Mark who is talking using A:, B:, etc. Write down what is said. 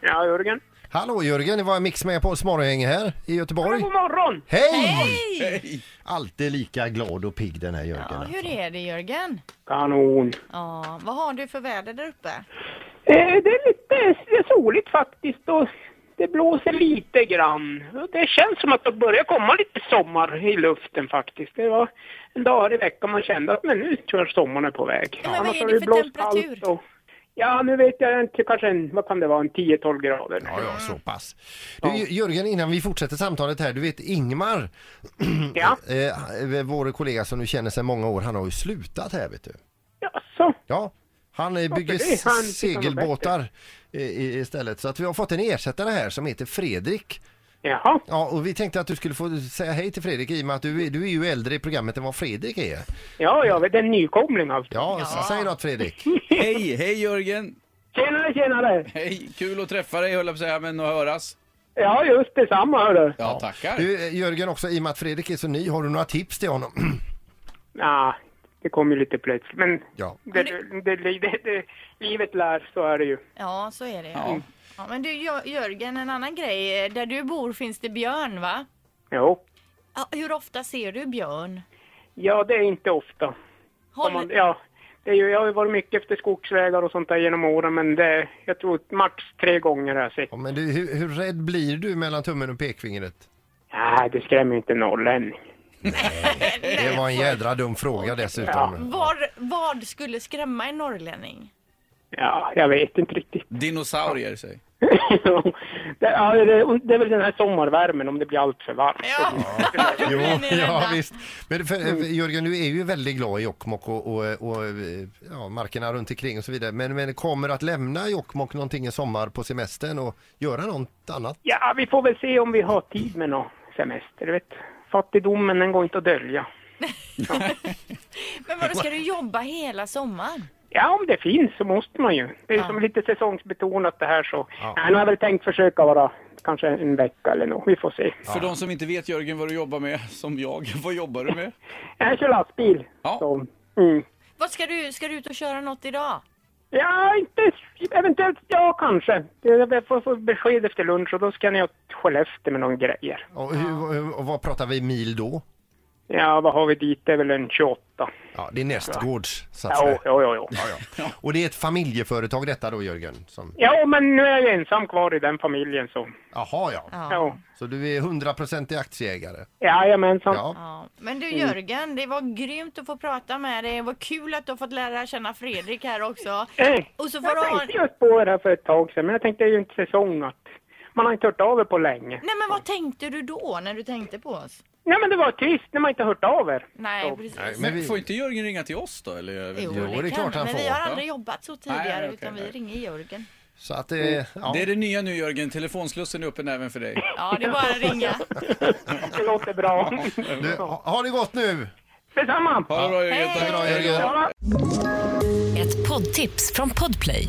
A: Ja, Jörgen.
B: Hallå Jörgen, det var Mix Megapols morgongäng här i Göteborg.
A: God morgon!
B: Hej! Alltid lika glad och pigg den här
C: Ja,
B: Jörgen. alltså.
C: hur är det Jörgen?
A: Kanon.
C: Ja, vad har du för väder där uppe?
A: Eh, det är lite det är soligt faktiskt och det blåser lite grann. Och Det känns som att det börjar komma lite sommar i luften faktiskt. Det var en dag i veckan man kände att men nu tror jag sommaren är på väg.
C: Ja, men vad
A: Annars
C: är
A: har
C: det för
A: blåst
C: temperatur?
A: kallt och- Ja, nu vet jag inte, kanske en, vad kan det vara, en 10-12 grader.
B: Ja, ja, så pass. Du, Jö- Jörgen, innan vi fortsätter samtalet här, du vet Ingmar,
C: Mm.
A: Ja,
B: eh, vår kollega som du känner sedan många år, han har ju slutat här vet du.
A: ja så.
B: Ja, han eh, bygger
A: det? Han tycker han är
B: segelbåtar i- i- istället. Så att vi har fått en ersättare här som heter Fredrik.
A: Jaha.
B: Ja, och vi tänkte att du skulle få säga hej till Fredrik i och med att du, är- du är ju äldre i programmet än vad Fredrik är.
A: Ja, jag vet, en nykomling alltså.
B: Ja, så säg något Fredrik.
D: Hej, hej Jörgen!
A: Tjenare, tjenare!
D: Hej, kul att träffa dig höll jag på att säga, men att höras.
A: Ja, just detsamma hörru.
D: Ja, tackar.
B: Du, eh, Jörgen också, i och med att Fredrik är så ny, har du några tips till honom?
A: Ja, det kom ju lite plötsligt. Men
B: Ja.
A: det, det, det, det, det, livet lär, så är det ju.
C: Ja, så är det. Ja. Mm.
D: Ja.
C: Ja, men du Jör- Jörgen, en annan grej. Eh, Där du bor finns det björn va?
A: Jo.
C: Ja, hur ofta ser du björn?
A: Ja, det är inte ofta. Om Man,
C: Håll...
A: ja, det är ju, jag har ju varit mycket efter skogsvägar och sånt där genom åren, men det, jag tror max tre gånger har jag sett.
B: Ja, men du, hur, hur rädd blir du mellan tummen och pekfingret?
A: Nej, det skrämmer ju inte en norrlänning.
B: Det var en jädra dum fråga dessutom.
C: Var, vad skulle skrämma en norrlänning?
A: Ja, jag vet inte riktigt.
D: Dinosaurier säger
A: det, ja, det, det är väl den här sommarvärmen, om det blir allt för varmt.
C: Ja, då
B: Jo,
C: blir Mm. ni
B: ja
C: rädda.
B: visst. Men för, eh, Jörgen, du är ju väldigt glad i Jokkmokk och, och, och eh, ja, markerna runt omkring och så vidare. Men, men kommer att lämna Jokkmokk någonting i sommar på semestern och göra något annat?
A: Ja, vi får väl se om vi har tid med någon semester, du vet. Fattigdomen, den går inte att dölja.
C: Men vadå, ska du jobba hela sommaren?
A: Ja, om det finns så måste man ju. Det är som lite säsongsbetonat det här så.
B: Ja.
A: Nej, nu har jag väl tänkt försöka vara kanske en vecka eller något. Vi får se.
D: För de som inte vet Jörgen vad du jobbar med, som jag, vad jobbar du med?
A: Jag kör lastbil.
D: Ja.
A: Så, mm.
C: Vad ska du, ska du ut och köra något idag?
A: Ja, inte... Eventuellt, ja kanske. Jag får, får besked efter lunch och då ska jag ner till Skellefteå med några grejer.
B: Och, hur, hur- och vad pratar vi mil då?
A: Ja, vad har vi dit? Det är väl en 28.
B: Ja, det är nästgårds så att
A: Ja,
B: säga.
A: ja, ja, ja.
B: Och det är ett familjeföretag detta då Jörgen? Som,
A: Ja, men nu är jag ju ensam kvar i den familjen så.
B: jaha ja.
C: Ja.
A: Ja,
B: Så du är 100% i aktieägare?
A: jajamensan. Ja.
B: Ja.
C: Ja. Men du Jörgen, det var grymt att få prata med dig. Det var kul att du har fått lära känna Fredrik här också. Och så får du
A: jag
C: ha...
A: tänkte just på det här för ett tag sedan, men jag tänkte det är ju inte säsong att man har inte hört av er på länge.
C: Nej men vad tänkte du då när du tänkte på oss?
A: Nej men det var trist när man inte hört av er.
C: Nej
A: Ja.
C: precis.
B: Nej,
D: Men
B: vi-
D: får inte Jörgen ringa till oss då? Eller?
C: Jo,
B: Jo, det är
C: det
B: klart
C: kan.
B: han
C: Men
B: får.
C: vi har
D: Ja.
C: aldrig jobbat så tidigare
D: Nej, okej,
C: utan vi
D: nej.
C: ringer Jörgen.
B: Så att det, ja.
D: Det är det nya nu Jörgen, telefonslussen är öppen även för dig.
C: Ja, det är bara att ringa.
A: Det låter bra.
B: Du, ha, har det gått nu!
A: Detsamma!
D: Ha det bra Jörgen,
C: Hej.
D: tack.
B: Bra, Jörgen.
A: Ja,
E: Ett poddtips från Podplay.